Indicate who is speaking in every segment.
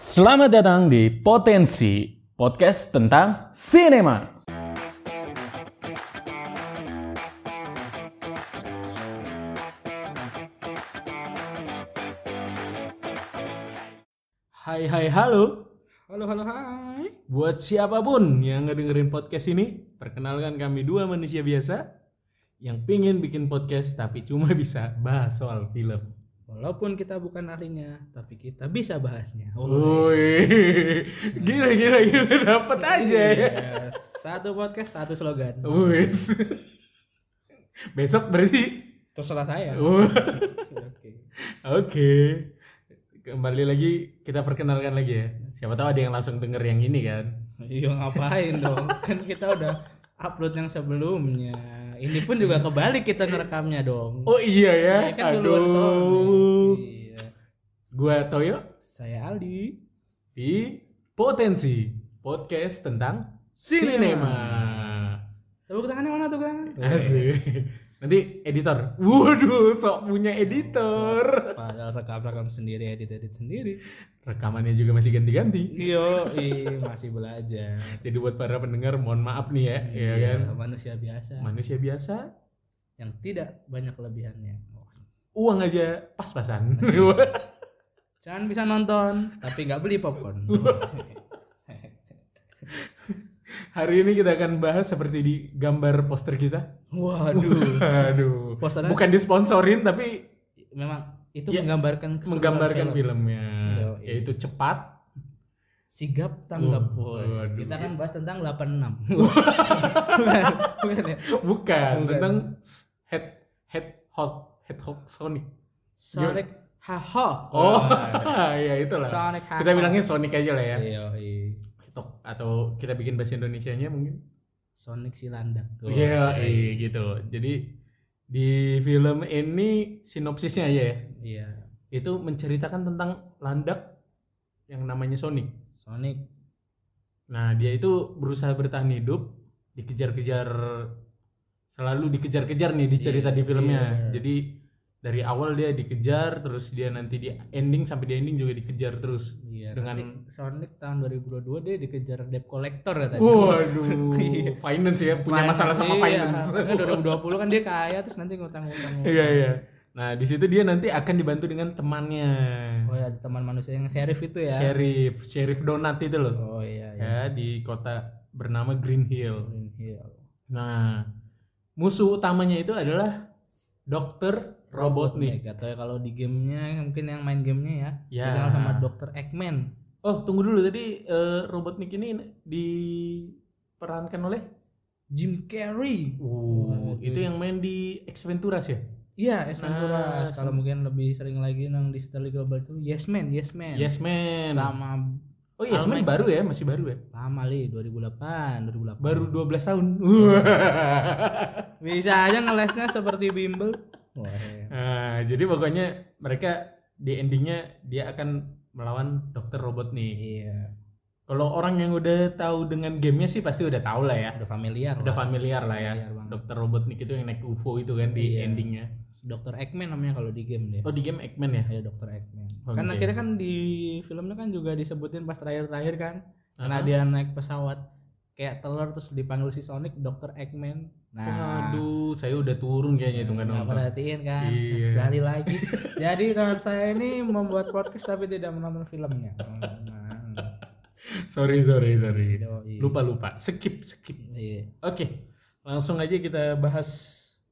Speaker 1: Selamat datang di Potensi, podcast tentang sinema.
Speaker 2: Hai hai halo
Speaker 3: Halo, halo, hai.
Speaker 2: Buat siapapun yang ngedengerin podcast ini Perkenalkan kami dua manusia biasa Yang pingin bikin podcast tapi cuma bisa bahas soal film
Speaker 3: Walaupun kita bukan ahlinya, tapi kita bisa bahasnya.
Speaker 2: Oh, Woi, gila gila gila dapat aja ya.
Speaker 3: Iya, satu podcast, satu slogan.
Speaker 2: Wis. Besok berarti.
Speaker 3: Terserah saya.
Speaker 2: Wuh.
Speaker 3: Oke.
Speaker 2: Oke. Kembali lagi kita perkenalkan lagi ya. Siapa tahu ada yang langsung denger yang ini kan.
Speaker 3: Iya, ngapain dong? Kan kita udah upload yang sebelumnya. Ini pun juga kebalik kita ngerekamnya dong.
Speaker 2: Oh iya ya.
Speaker 3: Saya kan duluan soalnya.
Speaker 2: Aduh.
Speaker 3: Iya.
Speaker 2: Gua Toyo
Speaker 3: Saya Ali.
Speaker 2: di Potensi Podcast tentang
Speaker 3: Sinema.
Speaker 2: sinema.
Speaker 3: Tepuk tangannya mana tuh, Kang?
Speaker 2: Iya. Asik. Nanti editor. Waduh, sok punya editor.
Speaker 3: Padahal rekam-rekam sendiri, edit-edit sendiri.
Speaker 2: Rekamannya juga masih ganti-ganti. Iya.
Speaker 3: Yo, ih, masih belajar.
Speaker 2: Jadi buat para pendengar mohon maaf nih ya, ya kan.
Speaker 3: Iya, Manusia biasa
Speaker 2: Manusia biasa,
Speaker 3: yang tidak banyak kelebihannya.
Speaker 2: uang aja pas-pasan. Iya.
Speaker 3: Jangan bisa nonton, tapi nggak beli popcorn.
Speaker 2: Hari ini kita akan bahas seperti di gambar poster kita.
Speaker 3: Waduh.
Speaker 2: Aduh.
Speaker 3: Posternya
Speaker 2: Bukan disponsorin tapi
Speaker 3: memang itu
Speaker 2: Ya,
Speaker 3: menggambarkan keseluruhan
Speaker 2: menggambarkan
Speaker 3: film.
Speaker 2: filmnya,
Speaker 3: Yoi.
Speaker 2: yaitu cepat.
Speaker 3: sigap tanggap.
Speaker 2: Wah,
Speaker 3: Woi,
Speaker 2: waduh.
Speaker 3: Kita kan bahas tentang 86. bukan, bukan ya.
Speaker 2: Bukan tentang s- head head hot head hot Sonic.
Speaker 3: Sonic haha.
Speaker 2: Oh, ya itulah.
Speaker 3: Sonic haha.
Speaker 2: Kita bilangnya Sonic aja lah ya.
Speaker 3: Iya, iya.
Speaker 2: Tok- Atau kita bikin bahasa Indonesianya mungkin.
Speaker 3: Sonic Silandang. Tuh.
Speaker 2: Iya, iya, gitu. Jadi di film ini sinopsisnya aja ya.
Speaker 3: Iya.
Speaker 2: Itu menceritakan tentang landak yang namanya Sonic.
Speaker 3: Sonic
Speaker 2: Nah, dia itu berusaha bertahan hidup, dikejar-kejar selalu dikejar-kejar nih di cerita
Speaker 3: Iya,
Speaker 2: di filmnya.
Speaker 3: iya.
Speaker 2: Jadi dari awal dia dikejar terus dia nanti di ending sampai di ending juga dikejar terus.
Speaker 3: iya.
Speaker 2: Dengan-
Speaker 3: nanti Sonic tahun 2022 dia dikejar debt collector katanya.
Speaker 2: Waduh,
Speaker 3: Iya.
Speaker 2: finance ya punya masalah sama
Speaker 3: Iya,
Speaker 2: finance.
Speaker 3: kan 2020 kan dia kaya terus nanti ngutang-ngutang.
Speaker 2: Iya iya. Nah di situ dia nanti akan dibantu dengan temannya,
Speaker 3: Oh ya ada teman manusia yang sheriff itu ya.
Speaker 2: sheriff, sheriff donat itu loh,
Speaker 3: Oh iya iya.
Speaker 2: ya di kota bernama Green Hill.
Speaker 3: Green Hill.
Speaker 2: Nah musuh utamanya itu adalah Dokter Robotnik.
Speaker 3: Robotnik. Atau ya kalau di gamenya mungkin yang main gamenya ya.
Speaker 2: Ya.
Speaker 3: Dikenal sama Dr. Eggman.
Speaker 2: Oh tunggu dulu tadi eh, Robotnik ini diperankan oleh,
Speaker 3: Jim Carrey.
Speaker 2: uh, itu yang main di X Ventura ya?
Speaker 3: Iya, Yes Man
Speaker 2: Nah,
Speaker 3: Turas.
Speaker 2: sama-
Speaker 3: Kalau mungkin lebih sering lagi yang di Stanley Global itu Yes Man, Yes Man.
Speaker 2: Yes Man.
Speaker 3: Sama
Speaker 2: Oh Yes Man
Speaker 3: Almec.
Speaker 2: baru ya, masih baru ya?
Speaker 3: lama li 2008, 2008.
Speaker 2: Baru 12 tahun.
Speaker 3: Bisa aja ngelesnya seperti bimbel. Wah.
Speaker 2: Nah, jadi pokoknya mereka di endingnya dia akan melawan dokter robot nih.
Speaker 3: Iya.
Speaker 2: Kalau orang yang udah tahu dengan gamenya sih pasti udah tahu lah ya.
Speaker 3: Udah familiar.
Speaker 2: Udah
Speaker 3: lah.
Speaker 2: familiar lah ya.
Speaker 3: Familiar banget.
Speaker 2: Dokter Robotnik itu yang naik UFO itu kan di
Speaker 3: Iya.
Speaker 2: endingnya.
Speaker 3: Dr. Eggman namanya kalau di game dia.
Speaker 2: Oh di game Eggman ya?
Speaker 3: Ya Dokter Eggman.
Speaker 2: Oke.
Speaker 3: Karena akhirnya kan di filmnya kan juga disebutin pas terakhir-terakhir kan. Karena
Speaker 2: Aha.
Speaker 3: dia naik pesawat kayak telur terus dipanggil si Sonic Dokter Eggman. Nah,
Speaker 2: Waduh, saya udah turun kayaknya itu kan
Speaker 3: nggak
Speaker 2: nonton.
Speaker 3: perhatiin kan
Speaker 2: Iya.
Speaker 3: sekali lagi. Jadi teman saya ini membuat podcast tapi tidak menonton filmnya. Oh, Nah,
Speaker 2: Sorry, sorry, sorry.
Speaker 3: yoi.
Speaker 2: Iya. Lupa lupa. Skip, skip.
Speaker 3: Iya.
Speaker 2: Oke, langsung aja kita bahas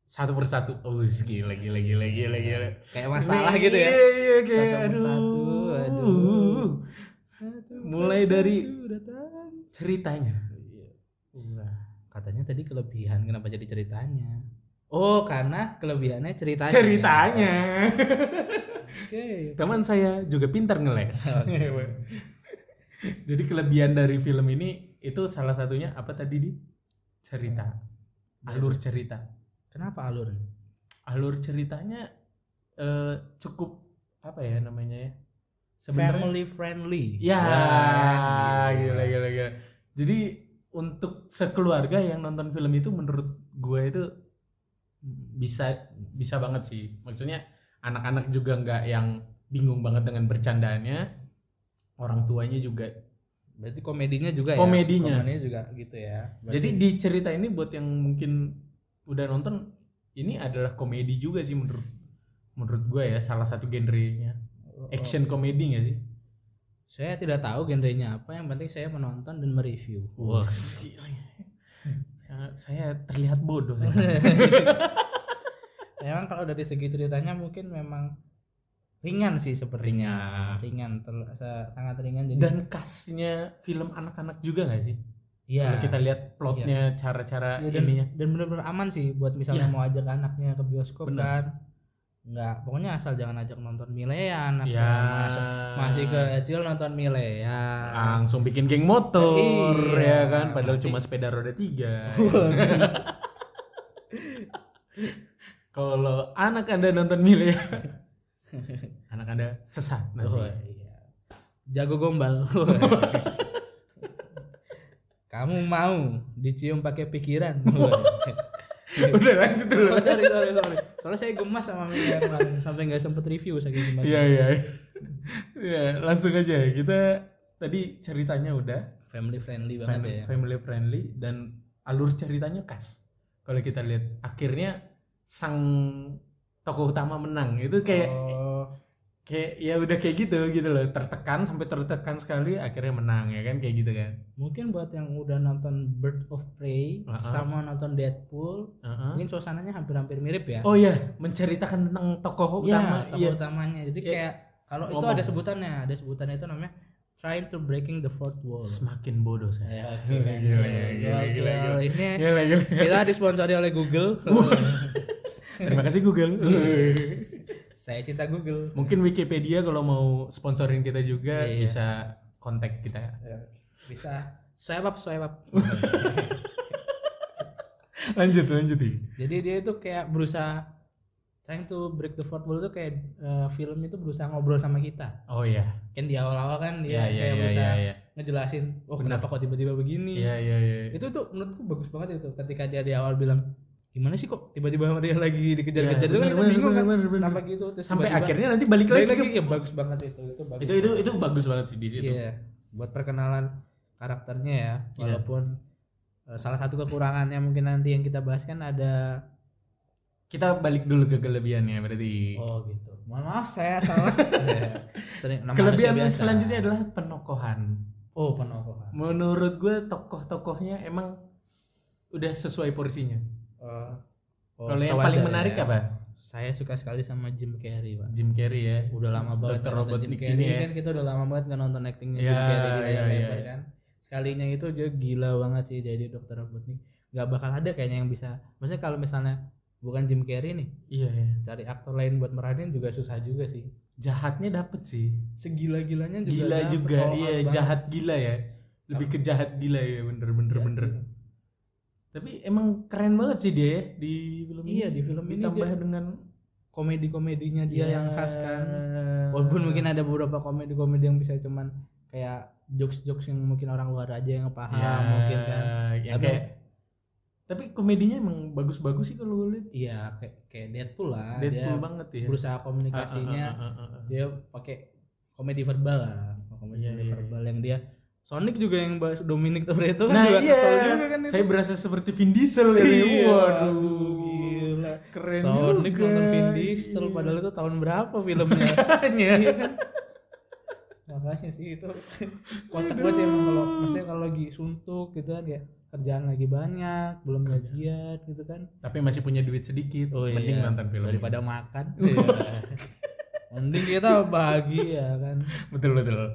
Speaker 2: satu persatu. Oh, gila, gila, gila, gila, gila.
Speaker 3: Kayak masalah gitu ya.
Speaker 2: Iya, iya, kayak
Speaker 3: Satu
Speaker 2: aduh.
Speaker 3: persatu, aduh. Satu
Speaker 2: Mulai
Speaker 3: persatu
Speaker 2: dari-
Speaker 3: datang.
Speaker 2: Ceritanya.
Speaker 3: Iya.
Speaker 2: Iya.
Speaker 3: Katanya tadi kelebihan kenapa jadi ceritanya? Oh, karena kelebihannya ceritanya.
Speaker 2: Ceritanya.
Speaker 3: Oke.
Speaker 2: Teman saya juga pintar ngeles. Jadi kelebihan dari film ini itu salah satunya apa tadi di cerita. Alur cerita.
Speaker 3: Kenapa alur?
Speaker 2: Alur ceritanya eh, cukup apa ya namanya ya?
Speaker 3: Family gitu. friendly.
Speaker 2: Ya,
Speaker 3: Wah,
Speaker 2: gila, gila, gila. Jadi untuk sekeluarga yang nonton film itu menurut gue itu bisa bisa banget sih. Maksudnya anak-anak juga nggak yang bingung banget dengan bercandaannya. orang tuanya juga.
Speaker 3: Berarti komedinya juga
Speaker 2: Komedinya.
Speaker 3: ya. Komedinya juga gitu ya.
Speaker 2: Jadi di cerita ini buat yang mungkin udah nonton ini adalah komedi juga sih menurut menurut gue ya salah satu genrenya action komedi gak sih?
Speaker 3: Oh, saya tidak tahu genrenya apa, yang penting saya menonton dan mereview.
Speaker 2: Wah, gila ya. saya, saya terlihat bodoh sih.
Speaker 3: Memang kalau dari segi ceritanya mungkin memang ringan sih sepertinya. Ringan, tel- sa- sangat ringan jadi
Speaker 2: Dan khasnya film anak-anak juga gak sih? Kalau
Speaker 3: ya.
Speaker 2: kita lihat plotnya, cara-cara
Speaker 3: Ya, dan,
Speaker 2: ininya. Iya.
Speaker 3: dan benar-benar aman sih buat misalnya mau ajak anaknya ke bioskop
Speaker 2: Bener.
Speaker 3: kan. Enggak, pokoknya asal jangan ajak nonton Milean anaknya.
Speaker 2: Ya.
Speaker 3: Mas- masih kecil nonton Milean.
Speaker 2: langsung bikin geng motor
Speaker 3: Iya,
Speaker 2: ya kan padahal
Speaker 3: nanti-
Speaker 2: cuma sepeda roda tiga
Speaker 3: Iya.
Speaker 2: kalau anak anda nonton Milia anak anda sesat nanti.
Speaker 3: Oh, iya. Jago gombal. Kamu mau dicium pakai pikiran.
Speaker 2: udah lanjut dulu
Speaker 3: Oh, sorry, sorry, sorry. Soalnya saya gemas sama mie yang kemarin, sampai nggak sempet review saking gemas.
Speaker 2: iya iya ya langsung aja ya. kita tadi ceritanya udah
Speaker 3: Family friendly banget
Speaker 2: family,
Speaker 3: ya.
Speaker 2: family friendly dan alur ceritanya khas kalau kita lihat akhirnya sang tokoh utama menang itu kayak
Speaker 3: Oh,
Speaker 2: kayak ya udah kayak gitu gitu loh tertekan sampai tertekan sekali akhirnya menang ya kan kayak gitu kan
Speaker 3: mungkin buat yang udah nonton Bird of Prey
Speaker 2: Uh-uh.
Speaker 3: sama nonton Deadpool,
Speaker 2: Heeh.
Speaker 3: mungkin suasananya hampir-hampir mirip ya.
Speaker 2: oh iya menceritakan tentang tokoh
Speaker 3: Iya,
Speaker 2: utama
Speaker 3: tokoh
Speaker 2: iya
Speaker 3: utamanya. Jadi
Speaker 2: Iya.
Speaker 3: kayak kalau itu
Speaker 2: Ngomong.
Speaker 3: ada sebutannya, ada sebutannya itu namanya trying to breaking the fourth wall.
Speaker 2: semakin bodoh saya
Speaker 3: Ya, oke.
Speaker 2: Gila, gila, gila,
Speaker 3: Oke,
Speaker 2: gila, gila.
Speaker 3: Ini
Speaker 2: Gila, gila.
Speaker 3: kita disponsori oleh Google.
Speaker 2: terima kasih Google
Speaker 3: Iya. Saya cinta Google.
Speaker 2: mungkin Wikipedia kalau mau sponsorin kita juga
Speaker 3: Iya.
Speaker 2: bisa kontak kita
Speaker 3: Bisa swipe up, swipe up.
Speaker 2: lanjut lanjut Ih.
Speaker 3: Jadi dia itu kayak berusaha trying to break the fourth wall itu kayak eh, film itu berusaha ngobrol sama kita.
Speaker 2: oh iya
Speaker 3: Kan di awal-awal kan
Speaker 2: iya iya
Speaker 3: dia kayak
Speaker 2: iya
Speaker 3: berusaha
Speaker 2: iya iya
Speaker 3: ngejelasin, "Oh, kenapa kok tiba-tiba begini?"
Speaker 2: iya iya iya
Speaker 3: Itu tuh menurutku bagus banget itu ketika dia di awal bilang, "Gimana sih kok tiba-tiba dia lagi dikejar-kejar?"
Speaker 2: Iya,
Speaker 3: itu kan
Speaker 2: bener,
Speaker 3: kita
Speaker 2: bener,
Speaker 3: bingung kan.
Speaker 2: bener, bener,
Speaker 3: Kenapa
Speaker 2: bener.
Speaker 3: gitu? Terus
Speaker 2: sampai
Speaker 3: tiba-tiba-
Speaker 2: akhirnya nanti balik
Speaker 3: Balik
Speaker 2: lagi,
Speaker 3: lagi
Speaker 2: ke-
Speaker 3: ya bagus banget itu. Itu bagus.
Speaker 2: itu itu itu bagus banget sih di situ
Speaker 3: Iya, buat perkenalan karakternya
Speaker 2: Iya.
Speaker 3: ya. Walaupun eh, salah satu kekurangannya mungkin nanti yang kita bahas kan ada
Speaker 2: kita balik dulu ke kelebihannya berarti
Speaker 3: oh gitu. Mohon maaf saya salah. Iya. Sering nama
Speaker 2: Kelebihan
Speaker 3: manusia biasa.
Speaker 2: selanjutnya adalah penokohan.
Speaker 3: oh penokohan.
Speaker 2: Menurut gue tokoh-tokohnya emang udah sesuai porsinya.
Speaker 3: Eh, oh,
Speaker 2: Kalau yang
Speaker 3: sewajarnya
Speaker 2: paling menarik
Speaker 3: ya.
Speaker 2: apa?
Speaker 3: Saya suka sekali sama Jim Carrey, Pak.
Speaker 2: Jim Carrey ya.
Speaker 3: Udah lama
Speaker 2: Dr.
Speaker 3: banget nggak nonton Jim
Speaker 2: Robotnik
Speaker 3: Carrey
Speaker 2: ini ya.
Speaker 3: kan kita udah lama banget nggak nonton actingnya Jim
Speaker 2: Ya,
Speaker 3: Carrey di layar
Speaker 2: ya,
Speaker 3: lebar
Speaker 2: ya.
Speaker 3: kan. Sekalinya itu dia gila banget sih jadi dokter Robotnik. Nggak bakal ada kayaknya yang bisa. Maksudnya kalau misalnya bukan Jim Carrey nih,
Speaker 2: Iya ya.
Speaker 3: cari aktor lain buat meranin juga susah juga sih
Speaker 2: Jahatnya dapet sih.
Speaker 3: segila-gilanya juga
Speaker 2: Gila
Speaker 3: dapet
Speaker 2: juga.
Speaker 3: all out
Speaker 2: Iya
Speaker 3: banget.
Speaker 2: jahat gila ya. Lebih ke jahat gila ya bener-bener
Speaker 3: Jahat
Speaker 2: bener.
Speaker 3: gila.
Speaker 2: Tapi emang keren banget sih dia ya di film ini.
Speaker 3: Iya, di film ini
Speaker 2: ditambah
Speaker 3: dia-
Speaker 2: dengan ya,
Speaker 3: komedi-komedinya dia
Speaker 2: Iya.
Speaker 3: yang khas kan
Speaker 2: Walaupun
Speaker 3: walaupun mungkin ada beberapa komedi-komedi yang bisa cuman kayak jokes-jokes yang mungkin orang luar aja yang paham
Speaker 2: Ya. ah,
Speaker 3: mungkin kan
Speaker 2: Yang
Speaker 3: Tapi-
Speaker 2: kayak tapi komedinya emang bagus-bagus sih kalau gue lihat.
Speaker 3: iya kayak kayak Deadpool lah
Speaker 2: Deadpool
Speaker 3: dia
Speaker 2: banget ya.
Speaker 3: berusaha
Speaker 2: Ah, ah, ah,
Speaker 3: komunikasinya
Speaker 2: ah, ah, ah.
Speaker 3: dia pakai komedi verbal lah komedi
Speaker 2: Iya, iya, iya.
Speaker 3: verbal yang dia Sonic juga yang bahas Dominic Toretto kan
Speaker 2: Nah
Speaker 3: juga
Speaker 2: iya,
Speaker 3: kesel juga kan itu.
Speaker 2: saya berasa seperti Vin Diesel ya. Waduh,
Speaker 3: Iya, gila.
Speaker 2: keren
Speaker 3: Sonic
Speaker 2: juga.
Speaker 3: nonton Vin Diesel
Speaker 2: Iya.
Speaker 3: padahal itu tahun berapa filmnya?
Speaker 2: Makanya.
Speaker 3: Iya kan? Makanya sih itu kocak banget sih emang kalau maksudnya kalau lagi suntuk gitu kan ya kerjaan lagi banyak, belum gajian gitu kan.
Speaker 2: Tapi masih punya duit sedikit, mending nonton film.
Speaker 3: Oh, iya. daripada makan. Mending kita bahagia kan.
Speaker 2: Betul betul.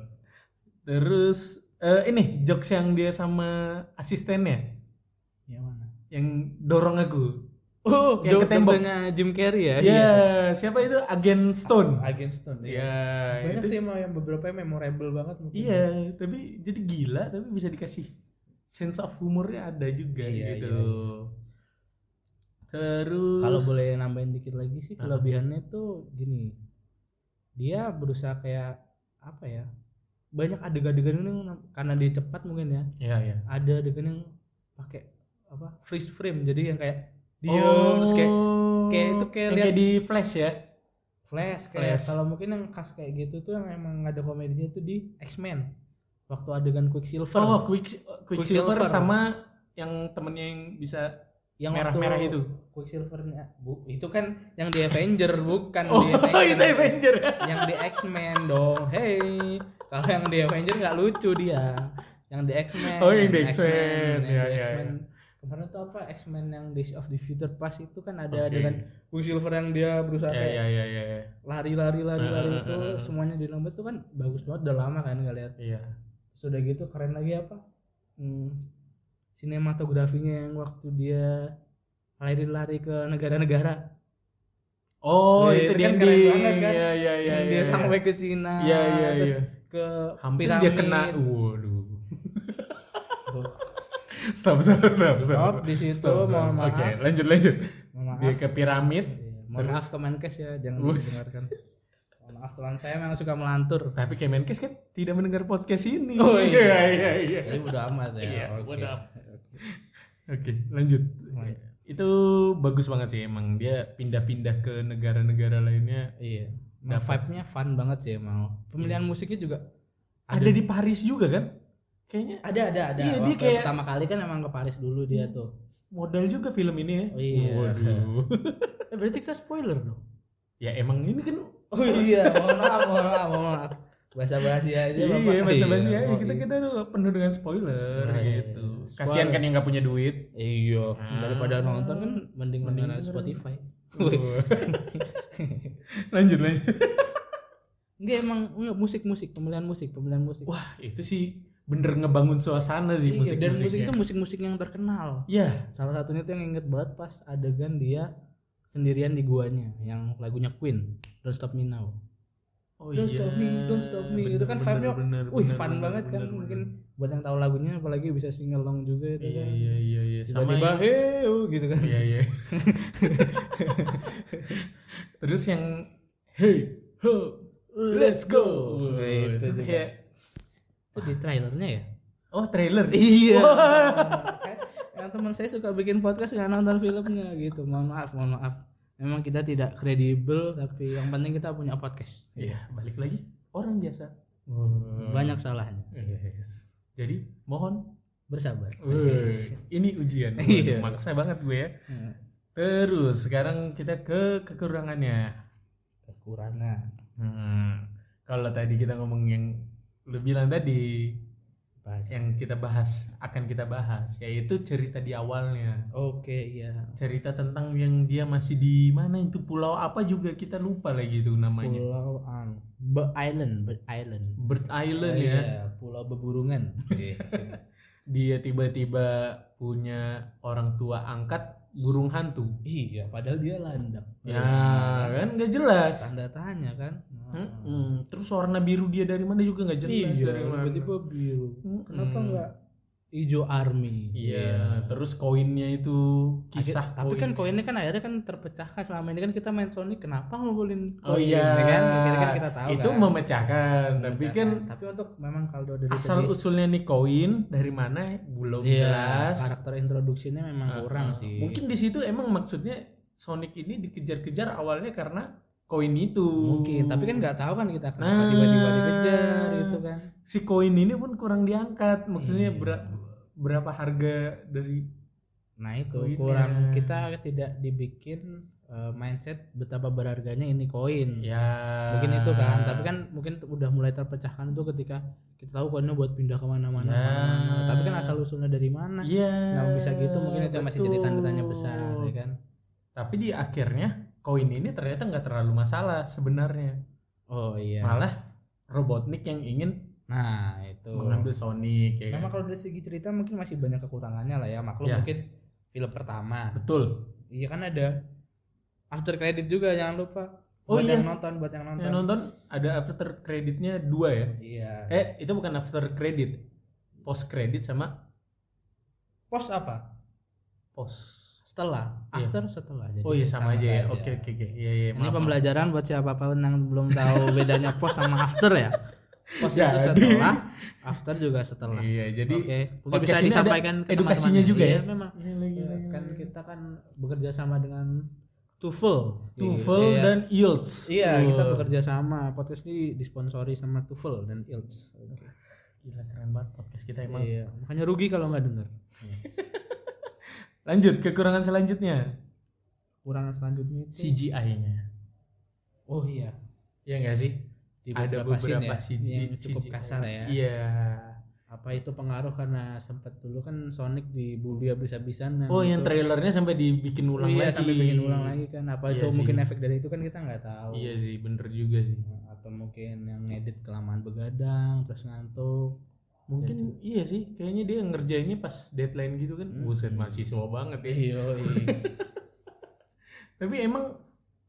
Speaker 2: Terus eh, ini jokes yang dia sama asistennya
Speaker 3: Ya mana?
Speaker 2: yang dorong aku. Yang
Speaker 3: Oh, yang
Speaker 2: ke tembok.
Speaker 3: Jim Carrey ya.
Speaker 2: Ya, siapa itu agen Stone?
Speaker 3: Agent Stone.
Speaker 2: Ya,
Speaker 3: iya. Banyak
Speaker 2: itu-
Speaker 3: sih emang yang beberapa yang memorable banget mungkin.
Speaker 2: Iya, tapi jadi gila tapi bisa dikasih sense of humornya ada juga
Speaker 3: Iya,
Speaker 2: gitu.
Speaker 3: iya,
Speaker 2: Terus
Speaker 3: Kalau boleh nambahin dikit lagi sih kelebihannya tuh gini. Dia berusaha kayak apa ya? Banyak adegan-adegan yang karena dia cepat mungkin ya.
Speaker 2: Iya, iya.
Speaker 3: Ada adegan yang pakai apa? freeze frame. Jadi yang Iya, kayak
Speaker 2: Dia
Speaker 3: diem terus kayak kayak itu kayak
Speaker 2: kayak
Speaker 3: lihat
Speaker 2: di Oh, flash ya.
Speaker 3: Flash kayak
Speaker 2: Flash.
Speaker 3: kalau mungkin yang khas kayak gitu tuh yang emang ada komedinya tuh di X-Men. Waktu adegan Quicksilver.
Speaker 2: Oh, Quick Quicksilver
Speaker 3: Quicksilver.
Speaker 2: sama yang temennya yang bisa
Speaker 3: yang waktu
Speaker 2: merah-merah itu.
Speaker 3: Quicksilvernya. Bu, itu kan yang di Avenger bukan
Speaker 2: Oh,
Speaker 3: di
Speaker 2: itu Avenger.
Speaker 3: yang di X-Men dong. Hey, kalau yang di Avenger nggak lucu dia. Yang di X-Men.
Speaker 2: Oh, yang di X-Men.
Speaker 3: yang
Speaker 2: Ya,
Speaker 3: di
Speaker 2: ya,
Speaker 3: X-Men. Kemarin tuh apa X-Men yang Days of the Future Past itu kan ada
Speaker 2: Oke.
Speaker 3: dengan Quicksilver yang dia berusaha
Speaker 2: Ya
Speaker 3: kayak
Speaker 2: ya ya ya. ya.
Speaker 3: lari-lari lari-lari
Speaker 2: Ah, ah,
Speaker 3: itu
Speaker 2: ah, ah.
Speaker 3: semuanya di nomor tuh kan bagus banget udah lama kan nggak lihat.
Speaker 2: Iya.
Speaker 3: Sudah gitu keren lagi apa? Hmm, sinematografinya yang waktu dia lari-lari ke negara-negara.
Speaker 2: Oh,
Speaker 3: Ya,
Speaker 2: itu,
Speaker 3: itu
Speaker 2: dia
Speaker 3: kan
Speaker 2: yang
Speaker 3: keren
Speaker 2: di
Speaker 3: banget kan?
Speaker 2: Iya iya iya.
Speaker 3: Yang
Speaker 2: iya,
Speaker 3: dia
Speaker 2: iya.
Speaker 3: sampai ke Cina,
Speaker 2: Iya, iya,
Speaker 3: terus
Speaker 2: iya.
Speaker 3: ke
Speaker 2: hampir
Speaker 3: piramid.
Speaker 2: dia kena. Waduh. Stop stop stop
Speaker 3: Stop di situ, mohon maaf.
Speaker 2: Oke, lanjut lanjut.
Speaker 3: Mohon maaf.
Speaker 2: Dia ke piramid.
Speaker 3: Iya, Mohon maaf Kemenkes ya, jangan
Speaker 2: Wus.
Speaker 3: didengarkan. Mohon maaf teman saya memang suka melantur.
Speaker 2: Tapi Kemenkes kan tidak mendengar podcast ini.
Speaker 3: Oh, iya.
Speaker 2: iya iya. iya.
Speaker 3: Jadi udah amat ya.
Speaker 2: Iya,
Speaker 3: oke. Iya,
Speaker 2: bodo amat. Oke, lanjut.
Speaker 3: Lanjut.
Speaker 2: Itu bagus banget sih emang dia pindah-pindah ke negara-negara lainnya.
Speaker 3: Iya. Emang vibe-nya fun banget sih emang. Pemilihan musiknya juga
Speaker 2: Iya. Ada, di Paris juga kan? Kayaknya
Speaker 3: ada ada ada.
Speaker 2: Iya, dia
Speaker 3: Waktu
Speaker 2: kayak-
Speaker 3: pertama kali kan emang ke Paris dulu dia tuh.
Speaker 2: modal juga film ini ya.
Speaker 3: Oh, iya.
Speaker 2: Waduh.
Speaker 3: Eh, berarti kita spoiler dong.
Speaker 2: ya emang ini kan
Speaker 3: Oh iya, mohon maaf, mohon maaf, mohon maaf. Bahasa bahasa aja Bapak.
Speaker 2: iya bahasa bahasa
Speaker 3: Iya,
Speaker 2: ya
Speaker 3: mohon-
Speaker 2: kita kita tuh penuh dengan spoiler
Speaker 3: Nah, iya,
Speaker 2: gitu.
Speaker 3: iya.
Speaker 2: Kasihan kan yang nggak punya duit.
Speaker 3: Iya,
Speaker 2: Ah.
Speaker 3: daripada nonton kan mending
Speaker 2: Mending
Speaker 3: mending
Speaker 2: dengerin.
Speaker 3: Spotify.
Speaker 2: lanjut lanjut.
Speaker 3: Enggak emang enggak, musik-musik, pemilihan musik, pemilihan musik.
Speaker 2: Wah itu sih bener ngebangun suasana sih
Speaker 3: Iya,
Speaker 2: musik
Speaker 3: dan musik itu musik-musik yang terkenal.
Speaker 2: Ya,
Speaker 3: Salah satunya tuh yang inget banget pas adegan dia sendirian di guanya yang lagunya Queen, Don't Stop Me Now.
Speaker 2: Oh
Speaker 3: Don't stop me, don't stop me. itu kan vibe-nya, wih fun banget kan mungkin buat yang tahu lagunya apalagi bisa sing along juga itu
Speaker 2: Iya
Speaker 3: kan.
Speaker 2: iya iya iya sama
Speaker 3: Tiba-tiba "Heu," gitu kan.
Speaker 2: Iya iya. Terus yang hey ho let's go. Nah,
Speaker 3: Wah, itu juga.
Speaker 2: kayak
Speaker 3: Itu di trailernya ya?
Speaker 2: oh trailer.
Speaker 3: Iya.
Speaker 2: Wah.
Speaker 3: yang teman saya suka bikin podcast nggak nonton filmnya gitu. Mohon maaf, mohon maaf. Memang kita tidak kredibel tapi yang penting kita punya podcast.
Speaker 2: Iya, balik lagi orang biasa.
Speaker 3: Banyak salahnya.
Speaker 2: Yes. Jadi mohon
Speaker 3: Bersabar.
Speaker 2: Wih, ini ujian.
Speaker 3: Iya.
Speaker 2: Maksa banget gue ya.
Speaker 3: Hmm.
Speaker 2: Terus sekarang kita ke kekurangannya.
Speaker 3: Kekurangan
Speaker 2: Hmm. Kalau tadi kita ngomong yang lu bilang tadi
Speaker 3: Pas.
Speaker 2: yang kita bahas akan kita bahas yaitu cerita di awalnya.
Speaker 3: Oke, iya.
Speaker 2: Cerita tentang yang dia masih di mana itu pulau apa juga kita lupa lagi itu namanya.
Speaker 3: Pulau Ang, Be Island, Be Island.
Speaker 2: Bird Island ya.
Speaker 3: Iya, pulau beburungan.
Speaker 2: Dia tiba-tiba punya orang tua angkat burung hantu.
Speaker 3: iya, padahal dia landak.
Speaker 2: Ya, kan nggak jelas.
Speaker 3: Tanda tanya Iya. kan.
Speaker 2: Mm-mm. Terus warna biru dia dari mana juga nggak jelas
Speaker 3: Iya,
Speaker 2: dari mana.
Speaker 3: tiba-tiba biru.
Speaker 2: Mm-mm.
Speaker 3: Kenapa nggak hijau army?
Speaker 2: Hmm. Iya, terus koinnya itu kisah
Speaker 3: tapi
Speaker 2: koin.
Speaker 3: kan koinnya kan akhirnya kan terpecahkan selama ini kan kita main Sonic kenapa ngumpulin
Speaker 2: Oh
Speaker 3: koin,
Speaker 2: iya,
Speaker 3: ya kan Akhirnya kan kita tahu
Speaker 2: itu
Speaker 3: kan.
Speaker 2: memecahkan. Tapi
Speaker 3: Pemecahkan.
Speaker 2: kan
Speaker 3: tapi untuk memang kalau dari
Speaker 2: asal
Speaker 3: segi-
Speaker 2: usulnya nih koin dari mana belum
Speaker 3: Iya,
Speaker 2: jelas.
Speaker 3: karakter introduksinya memang kurang sih
Speaker 2: Mungkin di situ emang maksudnya Sonic ini dikejar-kejar awalnya karena koin itu.
Speaker 3: mungkin tapi kan nggak tahu kan kita kenapa
Speaker 2: Nah.
Speaker 3: tiba-tiba dikejar gitu kan
Speaker 2: si koin ini pun kurang diangkat. Maksudnya
Speaker 3: Iya.
Speaker 2: bera- berapa harga dari
Speaker 3: nah itu
Speaker 2: Koinnya.
Speaker 3: kurang kita tidak dibikin eh, mindset betapa berharganya ini koin
Speaker 2: ya
Speaker 3: mungkin itu
Speaker 2: Ah.
Speaker 3: kan tapi kan mungkin t- udah mulai terpecahkan itu ketika kita tahu koinnya buat pindah kemana-mana
Speaker 2: Nah.
Speaker 3: kemana-mana. tapi kan asal usulnya dari mana
Speaker 2: Iya.
Speaker 3: nah bisa gitu mungkin itu yang masih jadi tanda tanya besar
Speaker 2: betul.
Speaker 3: ya kan
Speaker 2: Tapi di akhirnya koin ini ternyata nggak terlalu masalah sebenarnya.
Speaker 3: oh iya
Speaker 2: Malah Robotnik yang ingin
Speaker 3: nah itu
Speaker 2: mengambil Sonic ya kan?
Speaker 3: memang Nah, kalau dari segi cerita mungkin masih banyak kekurangannya lah ya maklum
Speaker 2: Ya.
Speaker 3: mungkin film pertama
Speaker 2: Betul.
Speaker 3: iya kan ada after credit juga jangan lupa
Speaker 2: Oh
Speaker 3: buat
Speaker 2: iya.
Speaker 3: yang nonton buat yang nonton
Speaker 2: Yang nonton ada after creditnya dua ya.
Speaker 3: iya
Speaker 2: Eh itu bukan after credit, post credit sama
Speaker 3: post apa
Speaker 2: post.
Speaker 3: setelah
Speaker 2: Iya.
Speaker 3: after setelah jadi
Speaker 2: Oh iya sama, aja ya. Oke oke oke. Iya iya.
Speaker 3: ini
Speaker 2: maaf, maaf.
Speaker 3: pembelajaran buat siapapun yang belum tahu bedanya post sama after ya post itu
Speaker 2: Jadi.
Speaker 3: setelah after juga setelah
Speaker 2: Iya jadi.
Speaker 3: Oke, mungkin
Speaker 2: podcast
Speaker 3: bisa
Speaker 2: ini ada
Speaker 3: disampaikan ke
Speaker 2: edukasinya
Speaker 3: teman-teman.
Speaker 2: juga
Speaker 3: Iya,
Speaker 2: ya?
Speaker 3: memang.
Speaker 2: Iya, lagi,
Speaker 3: Ya,
Speaker 2: lagi,
Speaker 3: kan
Speaker 2: lagi.
Speaker 3: kita kan bekerja sama dengan Tufel.
Speaker 2: Tuvel
Speaker 3: Iya.
Speaker 2: dan Yields.
Speaker 3: Iya,
Speaker 2: Wah,
Speaker 3: kita bekerja sama. Podcast ini disponsori sama Tufel dan Ilts.
Speaker 2: Gila keren banget podcast kita emang.
Speaker 3: Iya, makanya rugi kalau nggak dengar.
Speaker 2: Lanjut kekurangan selanjutnya
Speaker 3: Kurangan selanjutnya itu
Speaker 2: CGI-nya.
Speaker 3: Oh iya.
Speaker 2: Iya enggak sih?
Speaker 3: Di
Speaker 2: Ada
Speaker 3: beberapa scene
Speaker 2: beberapa
Speaker 3: ya,
Speaker 2: CGI
Speaker 3: yang cukup kasar ya.
Speaker 2: Iya.
Speaker 3: Apa itu pengaruh karena sempat dulu kan Sonic dibully habis-habisan dan
Speaker 2: Oh, yang
Speaker 3: itu-
Speaker 2: trailernya sampai dibikin ulang
Speaker 3: iya,
Speaker 2: lagi.
Speaker 3: sampai bikin ulang lagi kan. Apa
Speaker 2: Iya
Speaker 3: itu
Speaker 2: sih.
Speaker 3: mungkin efek dari itu kan kita nggak tahu.
Speaker 2: Iya sih, bener juga sih.
Speaker 3: Atau mungkin yang ngedit kelamaan begadang terus ngantuk.
Speaker 2: Mungkin iya sih, kayaknya dia ngerjainnya pas deadline gitu kan. Buset, mahasiswa banget ya.
Speaker 3: Iya,
Speaker 2: Tapi emang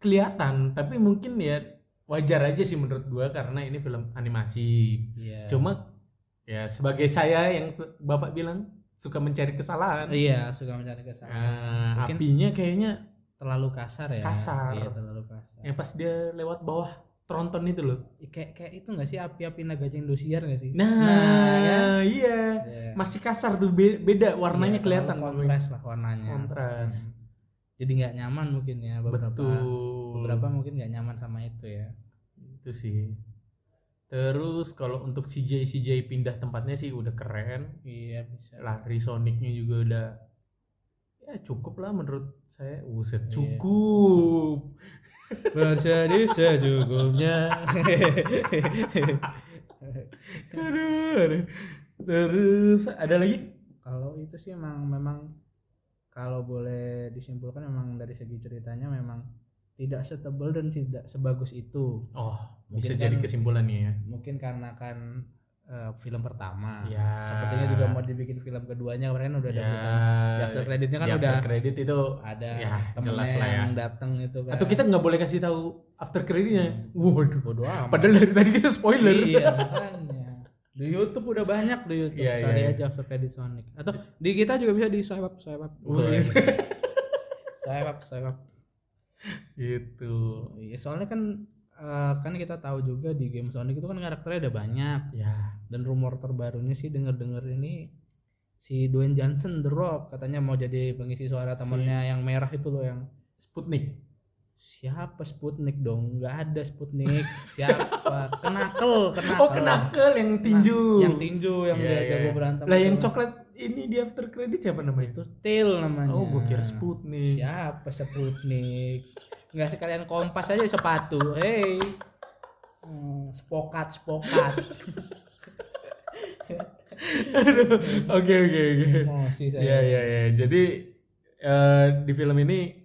Speaker 2: kelihatan, tapi mungkin ya wajar aja sih menurut gua karena ini film animasi.
Speaker 3: iya.
Speaker 2: Cuma ya sebagai saya yang t- Bapak bilang suka mencari kesalahan.
Speaker 3: iya, suka mencari kesalahan.
Speaker 2: Ah,
Speaker 3: Mungkin-
Speaker 2: apinya kayaknya
Speaker 3: Terlalu kasar ya.
Speaker 2: Kasar.
Speaker 3: Iya, terlalu kasar.
Speaker 2: yang pas dia lewat bawah tronton itu loh.
Speaker 3: Kayak kayak itu nggak sih api-api naga Indosiar nggak sih?
Speaker 2: Nah,
Speaker 3: ya.
Speaker 2: iya.
Speaker 3: Iya.
Speaker 2: Masih kasar tuh be- beda warnanya
Speaker 3: Iya,
Speaker 2: kelihatan
Speaker 3: terlalu kontras lah warnanya
Speaker 2: Kontras.
Speaker 3: Hmm. jadi nggak nyaman mungkin ya beberapa
Speaker 2: Betul.
Speaker 3: beberapa mungkin nggak nyaman sama itu ya
Speaker 2: itu sih. Terus kalau untuk CJ CJ pindah tempatnya sih udah keren.
Speaker 3: iya bisa
Speaker 2: lari Sonicnya juga udah ya cukup lah menurut saya Wuset
Speaker 3: Iya.
Speaker 2: cukup
Speaker 3: bersedih secukupnya
Speaker 2: aduh, aduh. terus ada lagi
Speaker 3: kalau itu sih emang memang kalau boleh disimpulkan memang dari segi ceritanya memang tidak setebel dan tidak sebagus itu
Speaker 2: oh bisa
Speaker 3: Mungkin
Speaker 2: jadi
Speaker 3: kan-
Speaker 2: kesimpulannya ya
Speaker 3: mungkin karena kan eh, film pertama
Speaker 2: Ya.
Speaker 3: sepertinya juga mau dibikin film keduanya kemarin udah ada
Speaker 2: Ya,
Speaker 3: berita di after creditnya kan
Speaker 2: di after
Speaker 3: udah
Speaker 2: credit itu
Speaker 3: ada
Speaker 2: Ya,
Speaker 3: temennya
Speaker 2: jelas lah ya.
Speaker 3: yang datang itu kan
Speaker 2: atau kita nggak boleh kasih tahu after creditnya waduh
Speaker 3: bodo amat
Speaker 2: padahal dari tadi kita spoiler
Speaker 3: Hmm. iya makanya di YouTube udah banyak di YouTube
Speaker 2: Iya,
Speaker 3: cari
Speaker 2: iya, iya.
Speaker 3: aja after credit Sonic atau di kita juga bisa di swipe up swipe up
Speaker 2: Wih.
Speaker 3: swipe up swipe up
Speaker 2: gitu
Speaker 3: iya soalnya kan eh, kan kita tahu juga di game Sonic itu kan karakternya ada banyak
Speaker 2: ya
Speaker 3: dan rumor terbarunya sih denger-denger ini si Dwayne Johnson The Rock katanya mau jadi pengisi suara temennya yang merah itu loh yang
Speaker 2: Sputnik
Speaker 3: siapa Sputnik dong nggak ada Sputnik siapa kenakel kenakel
Speaker 2: oh kenakel yang tinju
Speaker 3: Nah, yang tinju yang
Speaker 2: Iya,
Speaker 3: dia
Speaker 2: iya,
Speaker 3: jago
Speaker 2: iya.
Speaker 3: berantem
Speaker 2: lah yang
Speaker 3: itu.
Speaker 2: coklat ini di after credit siapa namanya
Speaker 3: itu Til namanya
Speaker 2: oh gue kira Sputnik
Speaker 3: siapa Sputnik nggak sekalian kompas aja sepatu hey Hmm, spokat spokat
Speaker 2: Aduh, Oke oke oke.
Speaker 3: emosi Oh, saya
Speaker 2: Iya iya iya. Jadi eh, di film ini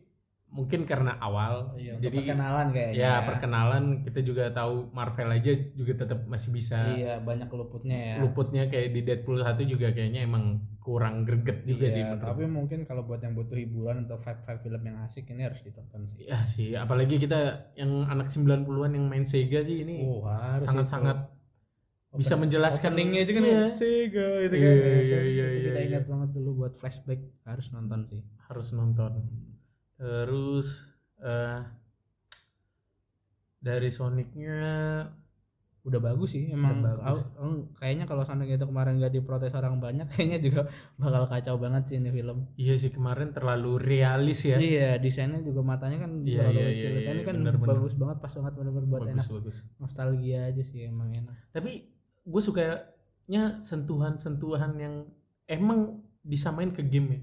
Speaker 2: mungkin karena awal,
Speaker 3: Iya, untuk
Speaker 2: jadi
Speaker 3: perkenalan kayaknya
Speaker 2: ya perkenalan kita juga tahu Marvel aja juga tetap masih bisa
Speaker 3: iya banyak luputnya ya
Speaker 2: luputnya kayak di Deadpool 1 juga kayaknya emang kurang greget juga
Speaker 3: Iya,
Speaker 2: sih menurut.
Speaker 3: tapi mungkin kalau buat yang butuh hiburan atau vibe-vibe film yang asik ini harus ditonton sih
Speaker 2: Ya sih, apalagi kita yang anak 90-an yang main Sega sih ini
Speaker 3: Oh, harus
Speaker 2: Iya. sangat-sangat
Speaker 3: itu.
Speaker 2: bisa menjelaskan
Speaker 3: openingnya aja kan
Speaker 2: Iya,
Speaker 3: Sega gitu
Speaker 2: Iya,
Speaker 3: kan
Speaker 2: iya, iya,
Speaker 3: Itu
Speaker 2: iya,
Speaker 3: kita
Speaker 2: iya.
Speaker 3: ingat banget dulu buat flashback harus nonton sih
Speaker 2: harus nonton. Terus eh dari Sonicnya
Speaker 3: udah bagus sih emang
Speaker 2: Udah bagus.
Speaker 3: au- em, kayaknya kalau Sonic itu kemarin gak diprotes orang banyak kayaknya juga bakal kacau banget sih ini film
Speaker 2: Iya sih kemarin terlalu realis ya.
Speaker 3: iya desainnya juga matanya kan
Speaker 2: Iya,
Speaker 3: terlalu
Speaker 2: iya,
Speaker 3: kecil
Speaker 2: iya, iya,
Speaker 3: ini kan
Speaker 2: benar, benar.
Speaker 3: bagus banget pas banget bener-bener buat
Speaker 2: bagus
Speaker 3: enak
Speaker 2: bagus.
Speaker 3: nostalgia aja sih emang enak
Speaker 2: Tapi gue sukanya sentuhan-sentuhan yang emang disamain ke game ya.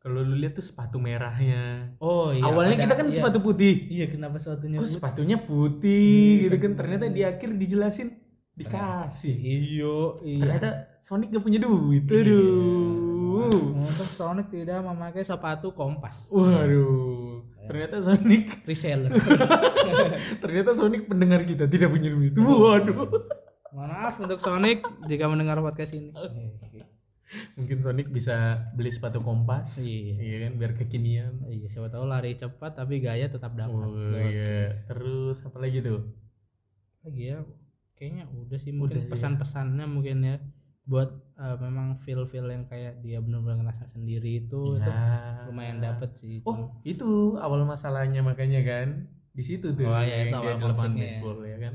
Speaker 2: Kalau lu lihat tuh sepatu merahnya.
Speaker 3: oh
Speaker 2: Awalnya kita kan sepatu putih.
Speaker 3: iya kenapa
Speaker 2: Kok
Speaker 3: sepatunya putih?
Speaker 2: sepatunya putih
Speaker 3: Iya,
Speaker 2: gitu
Speaker 3: kan.
Speaker 2: kan? Ternyata di akhir dijelasin dikasih.
Speaker 3: iyo iya
Speaker 2: Ternyata Sonic gak punya duit.
Speaker 3: Iya.
Speaker 2: Aduh.
Speaker 3: Untuk Sonic tidak memakai sepatu kompas.
Speaker 2: Uh. Waduh. Ternyata Sonic
Speaker 3: Reseller.
Speaker 2: ternyata Sonic pendengar kita tidak punya duit. Waduh.
Speaker 3: Mohon Maaf untuk Sonic jika mendengar podcast ini.
Speaker 2: mungkin Sonic bisa beli sepatu kompas
Speaker 3: Iya.
Speaker 2: kan biar kekinian
Speaker 3: Iya, siapa tahu lari cepat tapi gaya tetap dapat.
Speaker 2: oh iya terus apa lagi tuh
Speaker 3: Lagi ya, kayaknya udah sih mungkin
Speaker 2: Udah sih. ya.
Speaker 3: pesan-pesannya mungkin ya buat eh, memang feel-feel yang kayak dia benar-benar ngerasa sendiri itu Oh, itu
Speaker 2: Ya.
Speaker 3: lumayan dapet sih. itu.
Speaker 2: oh itu awal masalahnya makanya kan di situ tuh
Speaker 3: Oh, iya,
Speaker 2: yang
Speaker 3: itu
Speaker 2: dia
Speaker 3: awal
Speaker 2: di lapangan
Speaker 3: konfliknya.
Speaker 2: baseball ya kan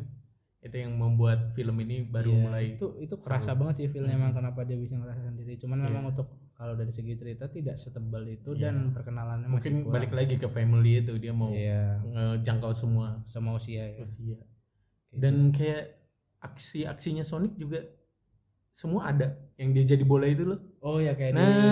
Speaker 2: itu yang membuat film ini baru
Speaker 3: Iya,
Speaker 2: mulai
Speaker 3: itu itu kerasa
Speaker 2: seru.
Speaker 3: banget sih filmnya
Speaker 2: Mhm.
Speaker 3: emang kenapa dia bisa ngerasa sendiri cuman
Speaker 2: Iya.
Speaker 3: memang untuk kalau dari segi cerita tidak setebal itu
Speaker 2: Iya.
Speaker 3: dan perkenalannya
Speaker 2: mungkin
Speaker 3: masih kurang.
Speaker 2: balik lagi ke family itu dia mau
Speaker 3: Iya,
Speaker 2: ngejangkau semua
Speaker 3: sama usia ya.
Speaker 2: usia dan kayak aksi-aksinya Sonic juga semua ada yang dia jadi bola itu loh
Speaker 3: oh ya kayak
Speaker 2: nah
Speaker 3: di
Speaker 2: di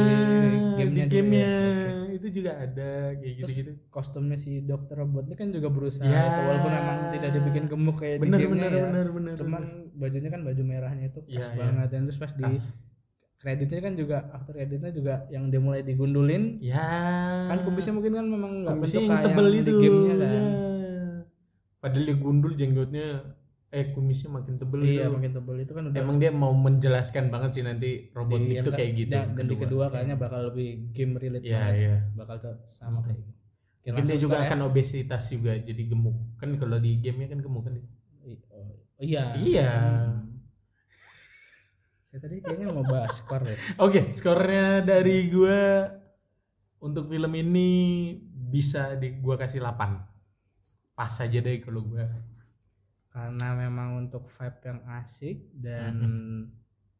Speaker 3: gamenya, dulu
Speaker 2: gamenya
Speaker 3: ya. Oke.
Speaker 2: itu juga ada kayak
Speaker 3: Terus
Speaker 2: gitu-gitu
Speaker 3: kostumnya si dokter robot ini kan juga berusaha
Speaker 2: Ya.
Speaker 3: tuh, walaupun emang tidak dibikin gemuk kayak
Speaker 2: bener
Speaker 3: di gamenya
Speaker 2: bener,
Speaker 3: ya.
Speaker 2: bener bener
Speaker 3: Cuman bajunya kan baju merahnya itu
Speaker 2: Iya,
Speaker 3: pas
Speaker 2: iya.
Speaker 3: banget dan terus pas di
Speaker 2: bener. Pas.
Speaker 3: kreditnya kan juga after kreditnya juga yang dia mulai digundulin
Speaker 2: ya
Speaker 3: kan kubisnya mungkin kan memang nggak
Speaker 2: kumisnya
Speaker 3: bentuk
Speaker 2: yang
Speaker 3: kayak
Speaker 2: tebel
Speaker 3: yang
Speaker 2: itu
Speaker 3: di gamenya kan
Speaker 2: ya. padahal dia gundul jenggotnya eh kumisnya makin tebel
Speaker 3: iya
Speaker 2: itu
Speaker 3: makin tebel Iya, itu kan udah
Speaker 2: emang dia mau menjelaskan banget sih nanti robot
Speaker 3: di-
Speaker 2: itu
Speaker 3: yang-
Speaker 2: kayak gitu
Speaker 3: dan, dan di kedua kayaknya bakal lebih game relate
Speaker 2: ya
Speaker 3: banget
Speaker 2: ya
Speaker 3: bakal tuh sama kayak gitu Oke,
Speaker 2: Mungkin dia
Speaker 3: langsung
Speaker 2: juga
Speaker 3: start ya.
Speaker 2: akan obesitas juga jadi gemuk. Kan kalau di gamenya kan gemuk kan.
Speaker 3: I- oh, iya
Speaker 2: Iya.
Speaker 3: Hmm. saya tadi kayaknya mau bahas skor ya
Speaker 2: Oke, skornya dari gua untuk film ini bisa di gua kasih 8. Pas aja deh kalau gua.
Speaker 3: karena memang untuk vibe yang asik dan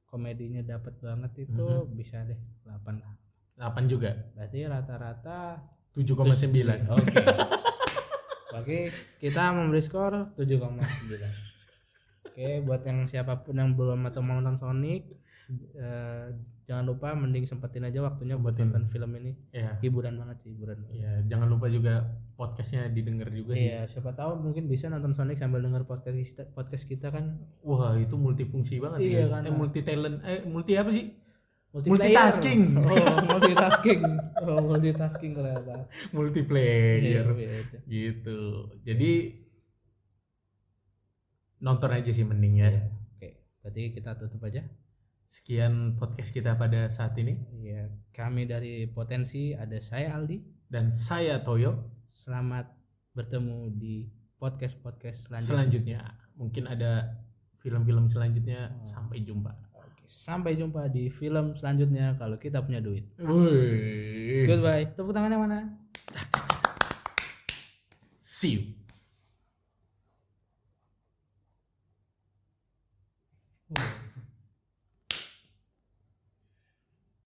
Speaker 3: komedinya dapat banget itu bisa deh 8 lah
Speaker 2: 8 juga.
Speaker 3: berarti rata-rata
Speaker 2: 7,9.
Speaker 3: oke oke kita memberi skor 7,9 oke buat yang siapapun yang belum atau mau nonton Sonic eh, jangan lupa mending sempetin aja waktunya buat
Speaker 2: Sempetin.
Speaker 3: nonton film ini
Speaker 2: Ya.
Speaker 3: hiburan banget sih hiburan banget.
Speaker 2: Ya, jangan lupa juga podcastnya didengar juga sih.
Speaker 3: Iya, siapa tahu mungkin bisa nonton Sonic sambil denger podcast kita, podcast kita kan
Speaker 2: Wah, itu multifungsi banget
Speaker 3: Iya,
Speaker 2: ya.
Speaker 3: kan.
Speaker 2: Eh, multi talent. Eh, multi apa sih?
Speaker 3: Multiplayer.
Speaker 2: Multitasking.
Speaker 3: Oh, multitasking. Oh, multitasking ternyata.
Speaker 2: Multiplayer.
Speaker 3: Iya, itu.
Speaker 2: gitu. Jadi nonton aja sih mending ya.
Speaker 3: Oke, berarti kita tutup aja.
Speaker 2: Sekian podcast kita pada saat ini
Speaker 3: Iya, kami dari Potensi ada saya Aldi.
Speaker 2: dan saya Toyo.
Speaker 3: Selamat bertemu di podcast-podcast selanjutnya.
Speaker 2: Selanjutnya mungkin ada film-film selanjutnya
Speaker 3: Oh.
Speaker 2: sampai jumpa.
Speaker 3: Oke, sampai jumpa di film selanjutnya kalau kita punya duit.
Speaker 2: Wih.
Speaker 3: Goodbye. Tepuk tangannya mana?
Speaker 2: See you.
Speaker 3: Oh.